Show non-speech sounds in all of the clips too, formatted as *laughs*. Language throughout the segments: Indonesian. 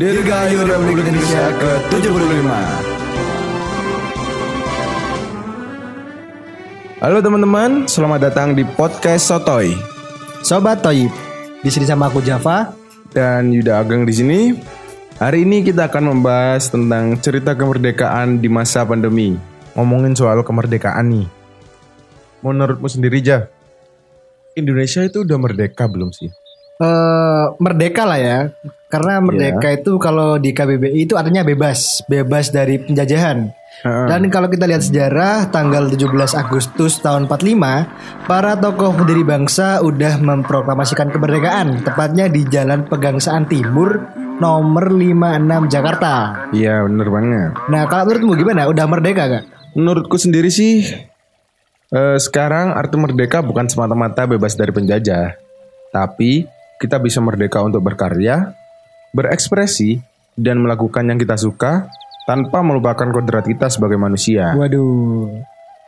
Dirgahayu Republik Indonesia ke-75. Halo teman-teman, selamat datang di podcast Sotoy Sobat Toyib, di sini sama aku Java. dan Yuda Ageng di sini. Hari ini kita akan membahas tentang cerita kemerdekaan di masa pandemi. Ngomongin soal kemerdekaan nih. Menurutmu sendiri, Ja, Indonesia itu udah merdeka belum sih? eh merdeka lah ya, karena merdeka itu kalau di KBBI itu artinya bebas, bebas dari penjajahan. Heeh. Dan kalau kita lihat sejarah, tanggal 17 Agustus tahun 45, para tokoh pendiri bangsa udah memproklamasikan kemerdekaan, tepatnya di Jalan Pegangsaan Timur nomor 56 Jakarta. Iya, bener banget. Nah, kalau menurutmu gimana? Udah merdeka gak? Menurutku sendiri sih eh, sekarang arti merdeka bukan semata-mata bebas dari penjajah, tapi kita bisa merdeka untuk berkarya, berekspresi, dan melakukan yang kita suka tanpa melupakan kodrat kita sebagai manusia. *laughs* Waduh.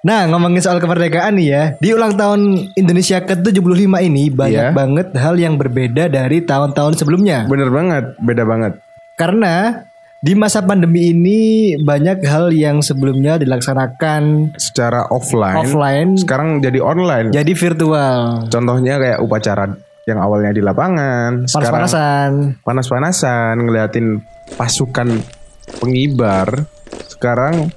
Nah, ngomongin soal kemerdekaan nih ya. Di ulang tahun Indonesia ke-75 ini Iya. banyak banget hal yang berbeda dari tahun-tahun sebelumnya. Bener banget, beda banget. Karena di masa pandemi ini banyak hal yang sebelumnya dilaksanakan Secara offline, offline Ya. sekarang jadi online. jadi virtual. Contohnya kayak upacara yang awalnya di lapangan, sekarang Panas-panasan. panas-panasan ngeliatin pasukan pengibar sekarang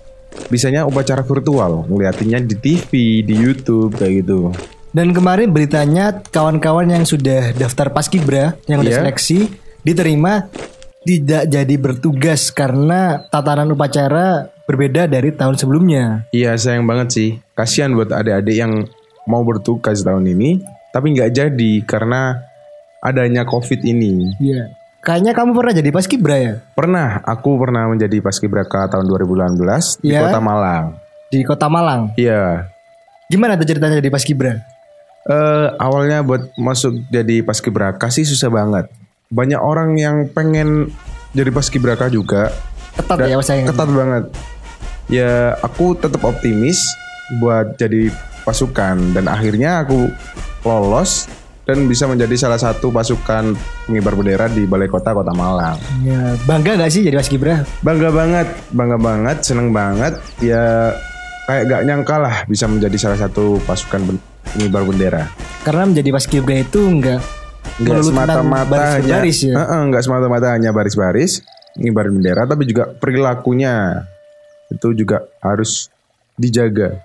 bisanya upacara virtual ngeliatinnya di TV di YouTube kayak gitu Dan kemarin beritanya kawan-kawan yang sudah daftar paskibra yang udah Iya. seleksi diterima tidak jadi bertugas karena tatanan upacara berbeda dari tahun sebelumnya. iya sayang banget sih kasihan buat adik-adik yang mau bertugas tahun ini tapi nggak jadi karena adanya COVID ini Iya. Kayaknya kamu pernah jadi paskibra ya pernah aku pernah menjadi paskibraka tahun 2018 di Iya. kota Malang di Kota Malang. iya Gimana tuh ceritanya jadi paskibra? Eh, awalnya buat masuk jadi paskibraka sih susah banget. Banyak orang yang pengen jadi paskibraka juga. Ketat ya saya Ketat banget. Ya, aku tetap optimis buat jadi pasukan dan akhirnya aku lolos dan bisa menjadi salah satu pasukan pengibar bendera di Balai Kota Kota Malang. Ya, bangga gak sih jadi paskibra? Bangga banget, bangga banget, seneng banget. Ya kayak gak nyangka lah bisa menjadi salah satu pasukan ben- pengibar bendera. Karena menjadi paskibra itu enggak nggak semata-mata hanya baris ya. Heeh, nggak semata-mata hanya baris-baris ngibarin bendera tapi juga perilakunya itu juga harus dijaga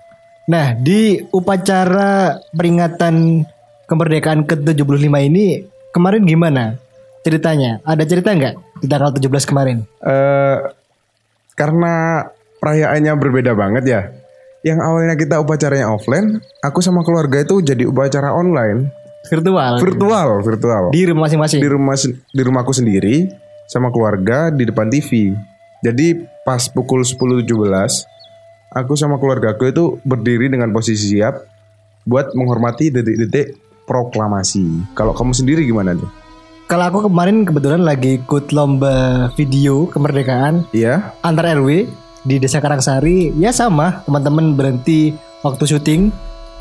Nah, di upacara peringatan kemerdekaan ke-75 ini kemarin gimana ceritanya? Ada cerita nggak di tanggal 17 kemarin? eh karena perayaannya berbeda banget ya yang awalnya kita upacaranya offline aku sama keluarga itu jadi upacara online Virtual. virtual virtual di rumah masing-masing. di rumah sen- di rumahku sendiri sama keluarga di depan TV. Jadi pas pukul 10.17 aku sama keluargaku itu berdiri dengan posisi siap buat menghormati detik-detik proklamasi. Kalau kamu sendiri gimana tuh? Kalau aku kemarin kebetulan lagi ikut lomba video kemerdekaan Iya, antar RW di Desa Karangsari ya sama teman-teman berhenti waktu syuting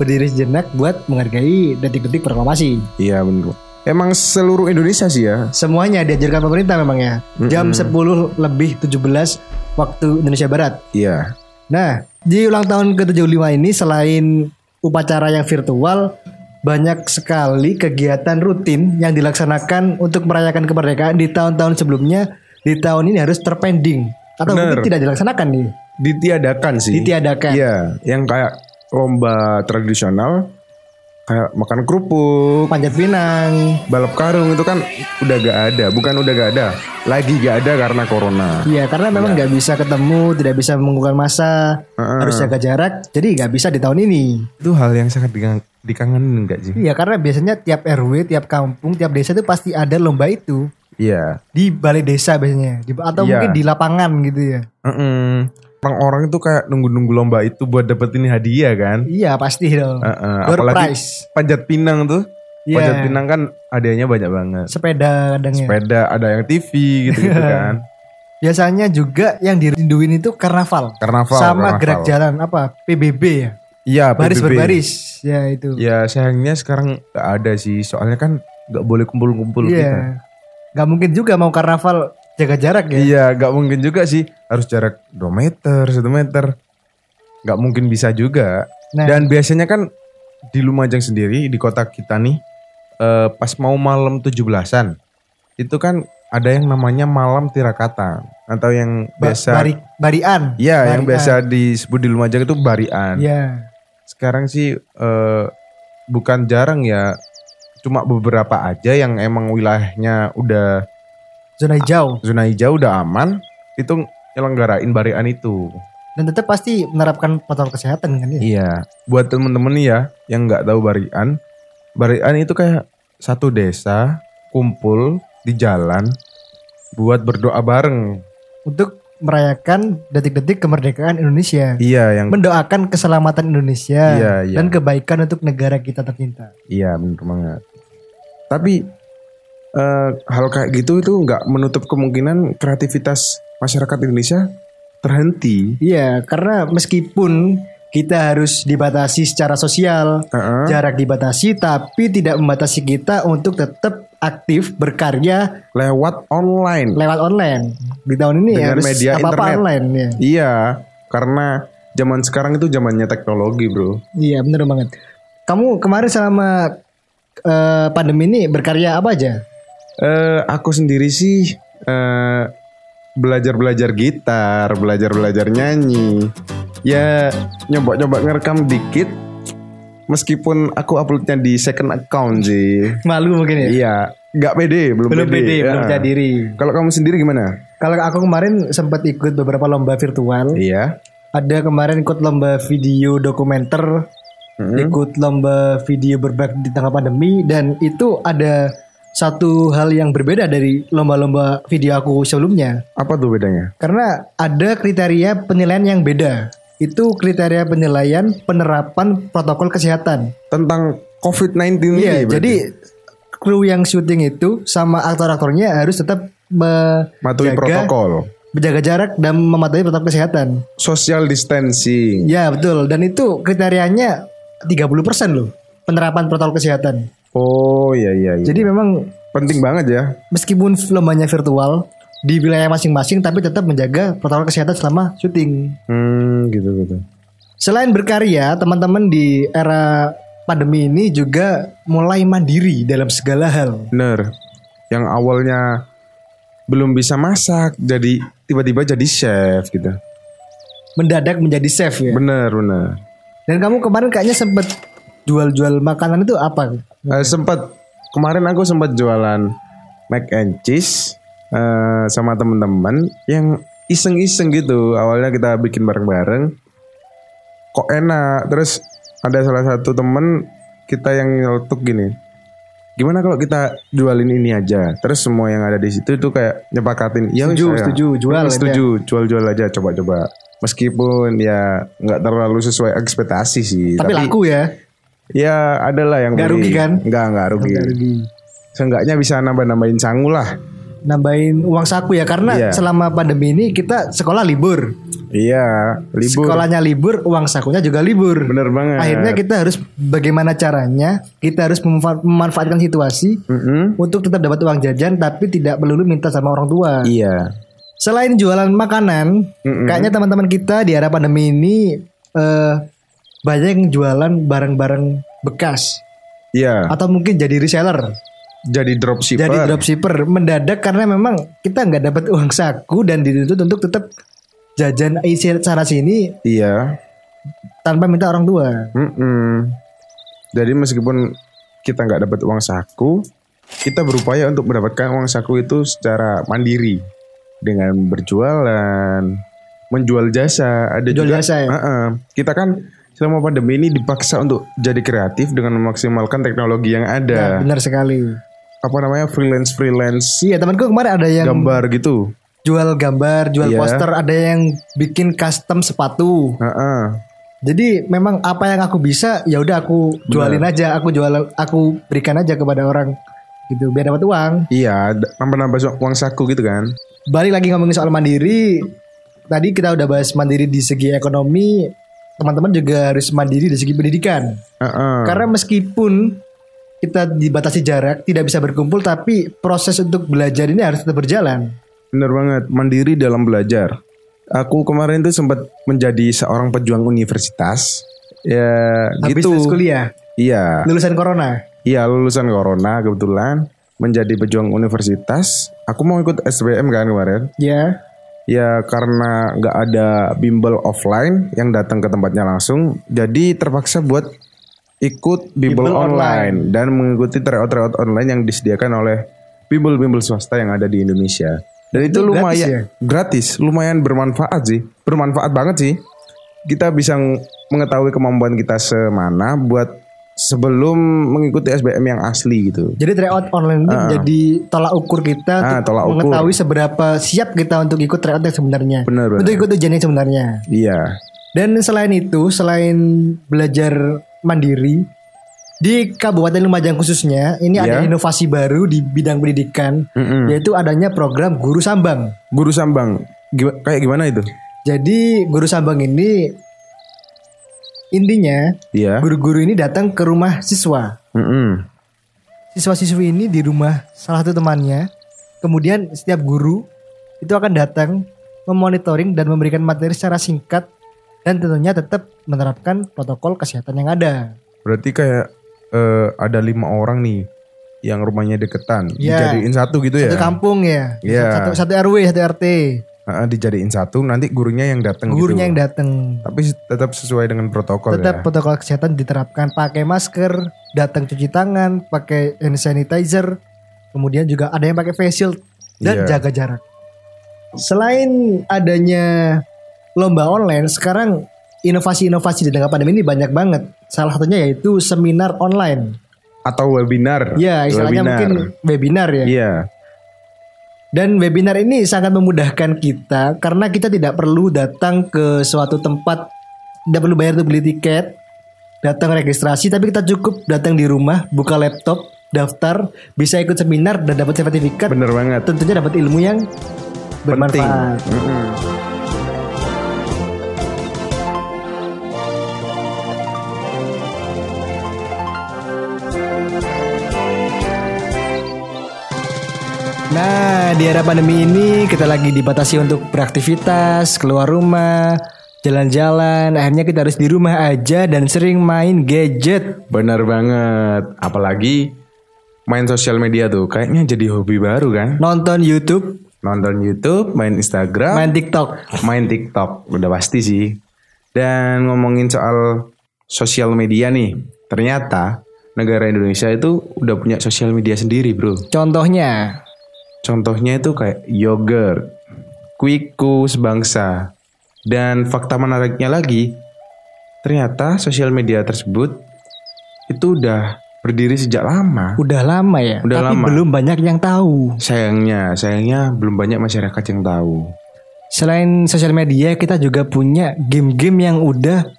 berdiri sejenak buat menghargai detik-detik proklamasi. iya benar. Emang seluruh Indonesia sih ya. Semuanya diajarkan pemerintah memang ya. Jam 10 lebih 17 waktu Indonesia Barat. Iya. Nah, di ulang tahun ke-75 ini selain upacara yang virtual banyak sekali kegiatan rutin yang dilaksanakan untuk merayakan kemerdekaan di tahun-tahun sebelumnya di tahun ini harus terpending atau Bener. mungkin tidak dilaksanakan nih Ditiadakan sih. ditiadakan Iya, yang kayak lomba tradisional kayak makan kerupuk, panjat pinang balap karung itu kan udah gak ada, bukan udah gak ada, lagi gak ada karena corona. Iya karena memang nggak bisa ketemu, tidak bisa mengumpulkan massa, harus jaga jarak, jadi nggak bisa di tahun ini. Itu hal yang sangat dikangen, dikangenin gak sih? Iya karena biasanya tiap RW, tiap kampung, tiap desa itu pasti ada lomba itu Iya. di balai desa biasanya, di- atau Iya. mungkin di lapangan gitu ya. Mm-mm. Orang-orang itu kayak nunggu-nunggu lomba itu buat dapetin hadiah kan? Iya pasti dong. Heeh, Door apalagi- prize, Panjat pinang tuh. Iya. Panjat pinang kan hadiahnya banyak banget. sepeda kadangnya. Sepeda, ada yang TV gitu-gitu *laughs* kan. Biasanya juga yang dirinduin itu karnaval, Karnaval. karnaval. sama gerak jalan apa PBB ya, Iya, baris PBB. berbaris ya itu. Ya sayangnya sekarang gak ada sih. Soalnya kan gak boleh kumpul-kumpul Iya. kita. Gak mungkin juga mau karnaval jaga jarak ya. Iya, gak mungkin juga sih. Harus jarak 2 meter, 1 meter. Gak mungkin bisa juga. Nah. Dan biasanya kan di Lumajang sendiri, di kota kita nih, eh, pas mau malam 17-an, itu kan ada yang namanya malam tirakatan. Atau yang Ba- biasa... bari- barian. Iya, yang Barian. biasa disebut di Lumajang itu barian. Iya. Sekarang sih eh, bukan jarang ya, cuma beberapa aja yang emang wilayahnya udah Ah. Zona hijau zona hijau udah aman, itu nyelenggarain barian itu. dan tetap pasti menerapkan protokol kesehatan kan ya. Iya. Buat temen-temen nih ya yang nggak tahu barian, barian itu kayak satu desa kumpul di jalan buat berdoa bareng. Untuk merayakan detik-detik kemerdekaan Indonesia. Iya yang Mendoakan keselamatan Indonesia Iya, iya. dan kebaikan untuk negara kita tercinta. iya bener banget. Tapi eh, hal kayak gitu itu nggak menutup kemungkinan kreativitas masyarakat Indonesia terhenti. Iya, karena meskipun kita harus dibatasi secara sosial, Heeh. jarak dibatasi tapi tidak membatasi kita untuk tetap aktif berkarya lewat online. lewat online. Di tahun ini Dengan ya harus media apa-apa internet. online ya. Iya, karena zaman sekarang itu zamannya teknologi, Bro. Iya, bener banget. Kamu kemarin selama eh, pandemi ini berkarya apa aja? Eh, aku sendiri sih eh, belajar-belajar gitar, belajar-belajar nyanyi. Ya nyoba-nyoba ngerekam dikit. Meskipun aku uploadnya di second account sih. Malu mungkin ya. Iya, nggak pede, belum, Belum pede, ya. belum percaya diri. Kalau kamu sendiri gimana? Kalau aku kemarin sempat ikut beberapa lomba virtual. Iya. Ada kemarin ikut lomba video dokumenter, Hmm. ikut lomba video berbaik di tengah pandemi dan itu ada satu hal yang berbeda dari lomba-lomba video aku sebelumnya. Apa tuh bedanya? Karena ada kriteria penilaian yang beda. Itu kriteria penilaian penerapan protokol kesehatan. Tentang COVID-19 ini Iya, berarti. jadi kru yang syuting itu sama aktor-aktornya harus tetap me- Patuhi jaga- protokol. menjaga jarak dan mematuhi protokol kesehatan. Social distancing. Ya, betul. Dan itu kriterianya 30% loh penerapan protokol kesehatan. Oh iya iya. iya. Jadi memang penting banget ya. meskipun lombanya virtual di wilayah masing-masing tapi tetap menjaga protokol kesehatan selama syuting. Hmm gitu gitu. Selain berkarya, teman-teman di era pandemi ini juga mulai mandiri dalam segala hal. Bener. Yang awalnya belum bisa masak, jadi tiba-tiba jadi chef gitu. Mendadak menjadi chef ya. Bener bener. Dan kamu kemarin kayaknya sempet jual-jual makanan itu apa? Eh, sempat kemarin aku sempat jualan mac and cheese eh, sama temen-temen yang iseng-iseng gitu. Awalnya kita bikin bareng-bareng. Kok enak. Terus ada salah satu temen kita yang nyeletuk gini. Gimana kalau kita jualin ini aja? Terus semua yang ada di situ itu kayak nyepakatin. Ya, Setuju, saya- setuju, jual aja." setuju, jual-jual aja coba-coba. Meskipun ya nggak terlalu sesuai ekspektasi sih. Tapi, laku ya. Ya adalah yang Nggak beli. rugi kan? Nggak nggak rugi. Nggak rugi. Seenggaknya bisa nambah-nambahin sangu lah. Nambahin uang saku ya karena Iya. selama pandemi ini kita sekolah libur. Iya, libur. Sekolahnya libur, uang sakunya juga libur. Bener banget. Akhirnya kita harus bagaimana caranya kita harus memanfa- memanfaatkan situasi Mm-mm. untuk tetap dapat uang jajan tapi tidak melulu minta sama orang tua. Iya. Selain jualan makanan, Mm-mm. kayaknya teman-teman kita di era pandemi ini eh, banyak yang jualan barang-barang bekas Iya. atau mungkin jadi reseller, Jadi dropshipper. jadi dropshipper mendadak karena memang kita nggak dapat uang saku dan dituntut untuk tetap jajan isi sana sini Iya. tanpa minta orang tua. Mm-mm. Jadi meskipun kita nggak dapat uang saku, kita berupaya untuk mendapatkan uang saku itu secara mandiri dengan berjualan, menjual jasa. Ada Jual juga. jasa ya? Heeh. Kita kan selama pandemi ini dipaksa untuk jadi kreatif dengan memaksimalkan teknologi yang ada. Benar sekali. apa namanya freelance freelance Iya temanku kemarin ada yang gambar gitu jual gambar, jual Iya. poster, ada yang bikin custom sepatu. Heeh. Jadi memang apa yang aku bisa ya udah aku jualin aja, aku jual aku berikan aja kepada orang gitu biar dapat uang. iya nambah nambah uang saku gitu kan Balik lagi ngomongin soal mandiri. Tadi kita udah bahas mandiri di segi ekonomi, teman-teman juga harus mandiri di segi pendidikan. Hmm. Heeh. Karena meskipun kita dibatasi jarak, tidak bisa berkumpul tapi proses untuk belajar ini harus tetap berjalan. Bener banget, mandiri dalam belajar. Aku kemarin tuh sempat menjadi seorang pejuang universitas. Ya Habis gitu. lulus kuliah, Iya. lulusan corona. Iya, lulusan corona kebetulan menjadi pejuang universitas. Aku mau ikut SBM kan kemarin. Ya, Ya karena nggak ada bimbel offline yang datang ke tempatnya langsung, jadi terpaksa buat ikut bimbel, Bimbel online, dan mengikuti tryout-tryout online yang disediakan oleh bimbel-bimbel swasta yang ada di Indonesia. Dan itu, Itu gratis lumayan ya? gratis, lumayan bermanfaat sih, bermanfaat banget sih. Kita bisa ng- mengetahui kemampuan kita semana buat sebelum mengikuti SBM yang asli gitu. jadi tryout online ini jadi tolak ukur kita Ah, untuk tolak ukur. mengetahui seberapa siap kita untuk ikut tryout yang sebenarnya. Bener, bener. Untuk ikut ujian yang sebenarnya. Iya, Dan selain itu, selain belajar mandiri di Kabupaten Lumajang khususnya, ini ada Iya. inovasi baru di bidang pendidikan, Mm-mm. yaitu adanya program guru sambang. guru sambang, Gima- kayak gimana itu? Jadi guru sambang ini intinya Iya. guru-guru ini datang ke rumah siswa. Mm-mm. Siswa-siswi ini di rumah salah satu temannya. Kemudian setiap guru itu akan datang memonitoring dan memberikan materi secara singkat dan tentunya tetap menerapkan protokol kesehatan yang ada. Berarti kayak eh, ada lima orang nih yang rumahnya deketan, Iya. dijadiin satu gitu ya? Satu kampung ya. Iya. Satu, satu RW, satu RT. Heeh, dijadiin satu, nanti gurunya yang datang gitu. Gurunya yang datang. Tapi tetap sesuai dengan protokol ya? Tetap protokol kesehatan diterapkan pakai masker, datang cuci tangan, pakai hand sanitizer, kemudian juga ada yang pakai face shield dan Iya. jaga jarak. Selain adanya lomba online, sekarang inovasi-inovasi di tengah pandemi ini banyak banget. Salah satunya yaitu seminar online. ya. Atau webinar. Ya, istilahnya Webinar. mungkin webinar ya. Iya. Dan webinar ini sangat memudahkan kita karena kita tidak perlu datang ke suatu tempat, tidak perlu bayar untuk beli tiket, datang registrasi, tapi kita cukup datang di rumah, buka laptop, daftar, bisa ikut seminar dan dapat sertifikat. Bener banget. Tentunya dapat ilmu yang Penting. bermanfaat. Mm-mm. Nah, di era pandemi ini kita lagi dibatasi untuk beraktivitas, keluar rumah, jalan-jalan. Akhirnya kita harus di rumah aja dan sering main gadget. Bener banget. Apalagi main sosial media tuh kayaknya jadi hobi baru kan. Nonton YouTube, Nonton YouTube, main Instagram, main TikTok. main TikTok udah pasti sih. Dan ngomongin soal sosial media nih, ternyata negara Indonesia itu udah punya sosial media sendiri, Bro. Contohnya, Contohnya itu kayak yogurt, Kwiku sebangsa. Dan fakta menariknya lagi, ternyata sosial media tersebut itu udah berdiri sejak lama. udah lama ya, Udah tapi lama. belum banyak yang tahu. Sayangnya, sayangnya belum banyak masyarakat yang tahu. Selain sosial media, kita juga punya game-game yang udah,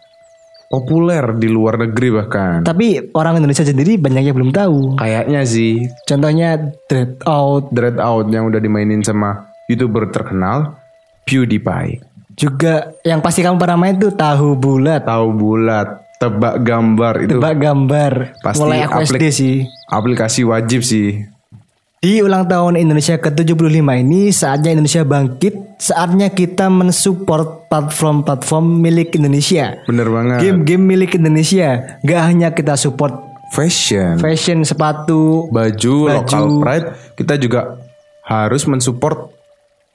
Populer di luar negeri bahkan. tapi orang Indonesia sendiri banyak yang belum tahu. Kayaknya sih, Contohnya Dread Out, Dread Out yang udah dimainin sama youtuber terkenal PewDiePie. juga yang pasti kamu pernah main tuh Tahu Bulat, Tahu bulat, tebak gambar itu Tebak Gambar. Pasti Mulai aku aplik- SD sih. aplikasi wajib sih. Di ulang tahun Indonesia ke-75 ini saatnya Indonesia bangkit, saatnya kita mensupport platform-platform milik Indonesia. Bener banget. Game-game milik Indonesia, gak hanya kita support Fashion, fashion sepatu baju, local pride, kita juga harus mensupport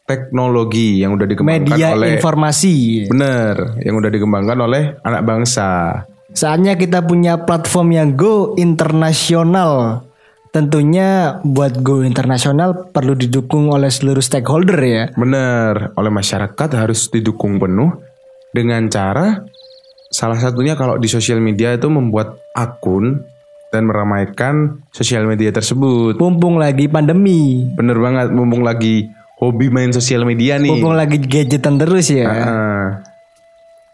teknologi yang udah dikembangkan media oleh informasi bener, yang udah dikembangkan oleh anak bangsa. saatnya kita punya platform yang go internasional tentunya buat go internasional perlu didukung oleh seluruh stakeholder ya Bener, oleh masyarakat harus didukung penuh dengan cara salah satunya kalau di sosial media itu membuat akun dan meramaikan sosial media tersebut. mumpung lagi pandemi Bener banget, mumpung lagi hobi main sosial media nih. mumpung lagi gadgetan terus ya Ah,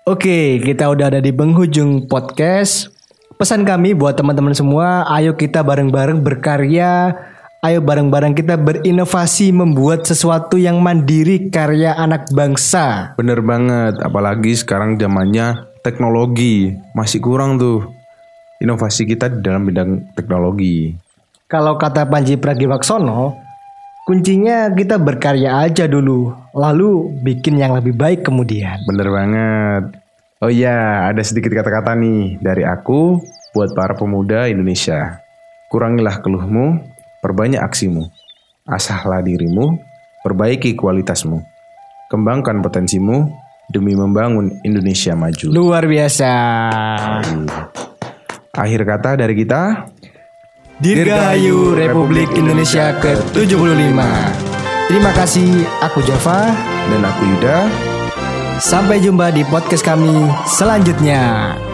Oke, kita udah ada di penghujung podcast. Pesan kami buat teman-teman semua, ayo kita bareng-bareng berkarya, ayo bareng-bareng kita berinovasi membuat sesuatu yang mandiri karya anak bangsa. bener banget, apalagi sekarang zamannya teknologi masih kurang tuh inovasi kita di dalam bidang teknologi. Kalau kata Panji Pragiwaksono, kuncinya kita berkarya aja dulu, lalu bikin yang lebih baik kemudian. Bener banget. Oh iya, ada sedikit kata-kata nih dari aku buat para pemuda Indonesia. Kurangilah keluhmu, perbanyak aksimu. Asahlah dirimu, perbaiki kualitasmu. Kembangkan potensimu demi membangun Indonesia maju. Luar biasa. Akhir kata dari kita, Dirgahayu Republik Indonesia ke-75. Terima kasih, aku Java. dan aku Yuda. Sampai jumpa di podcast kami selanjutnya.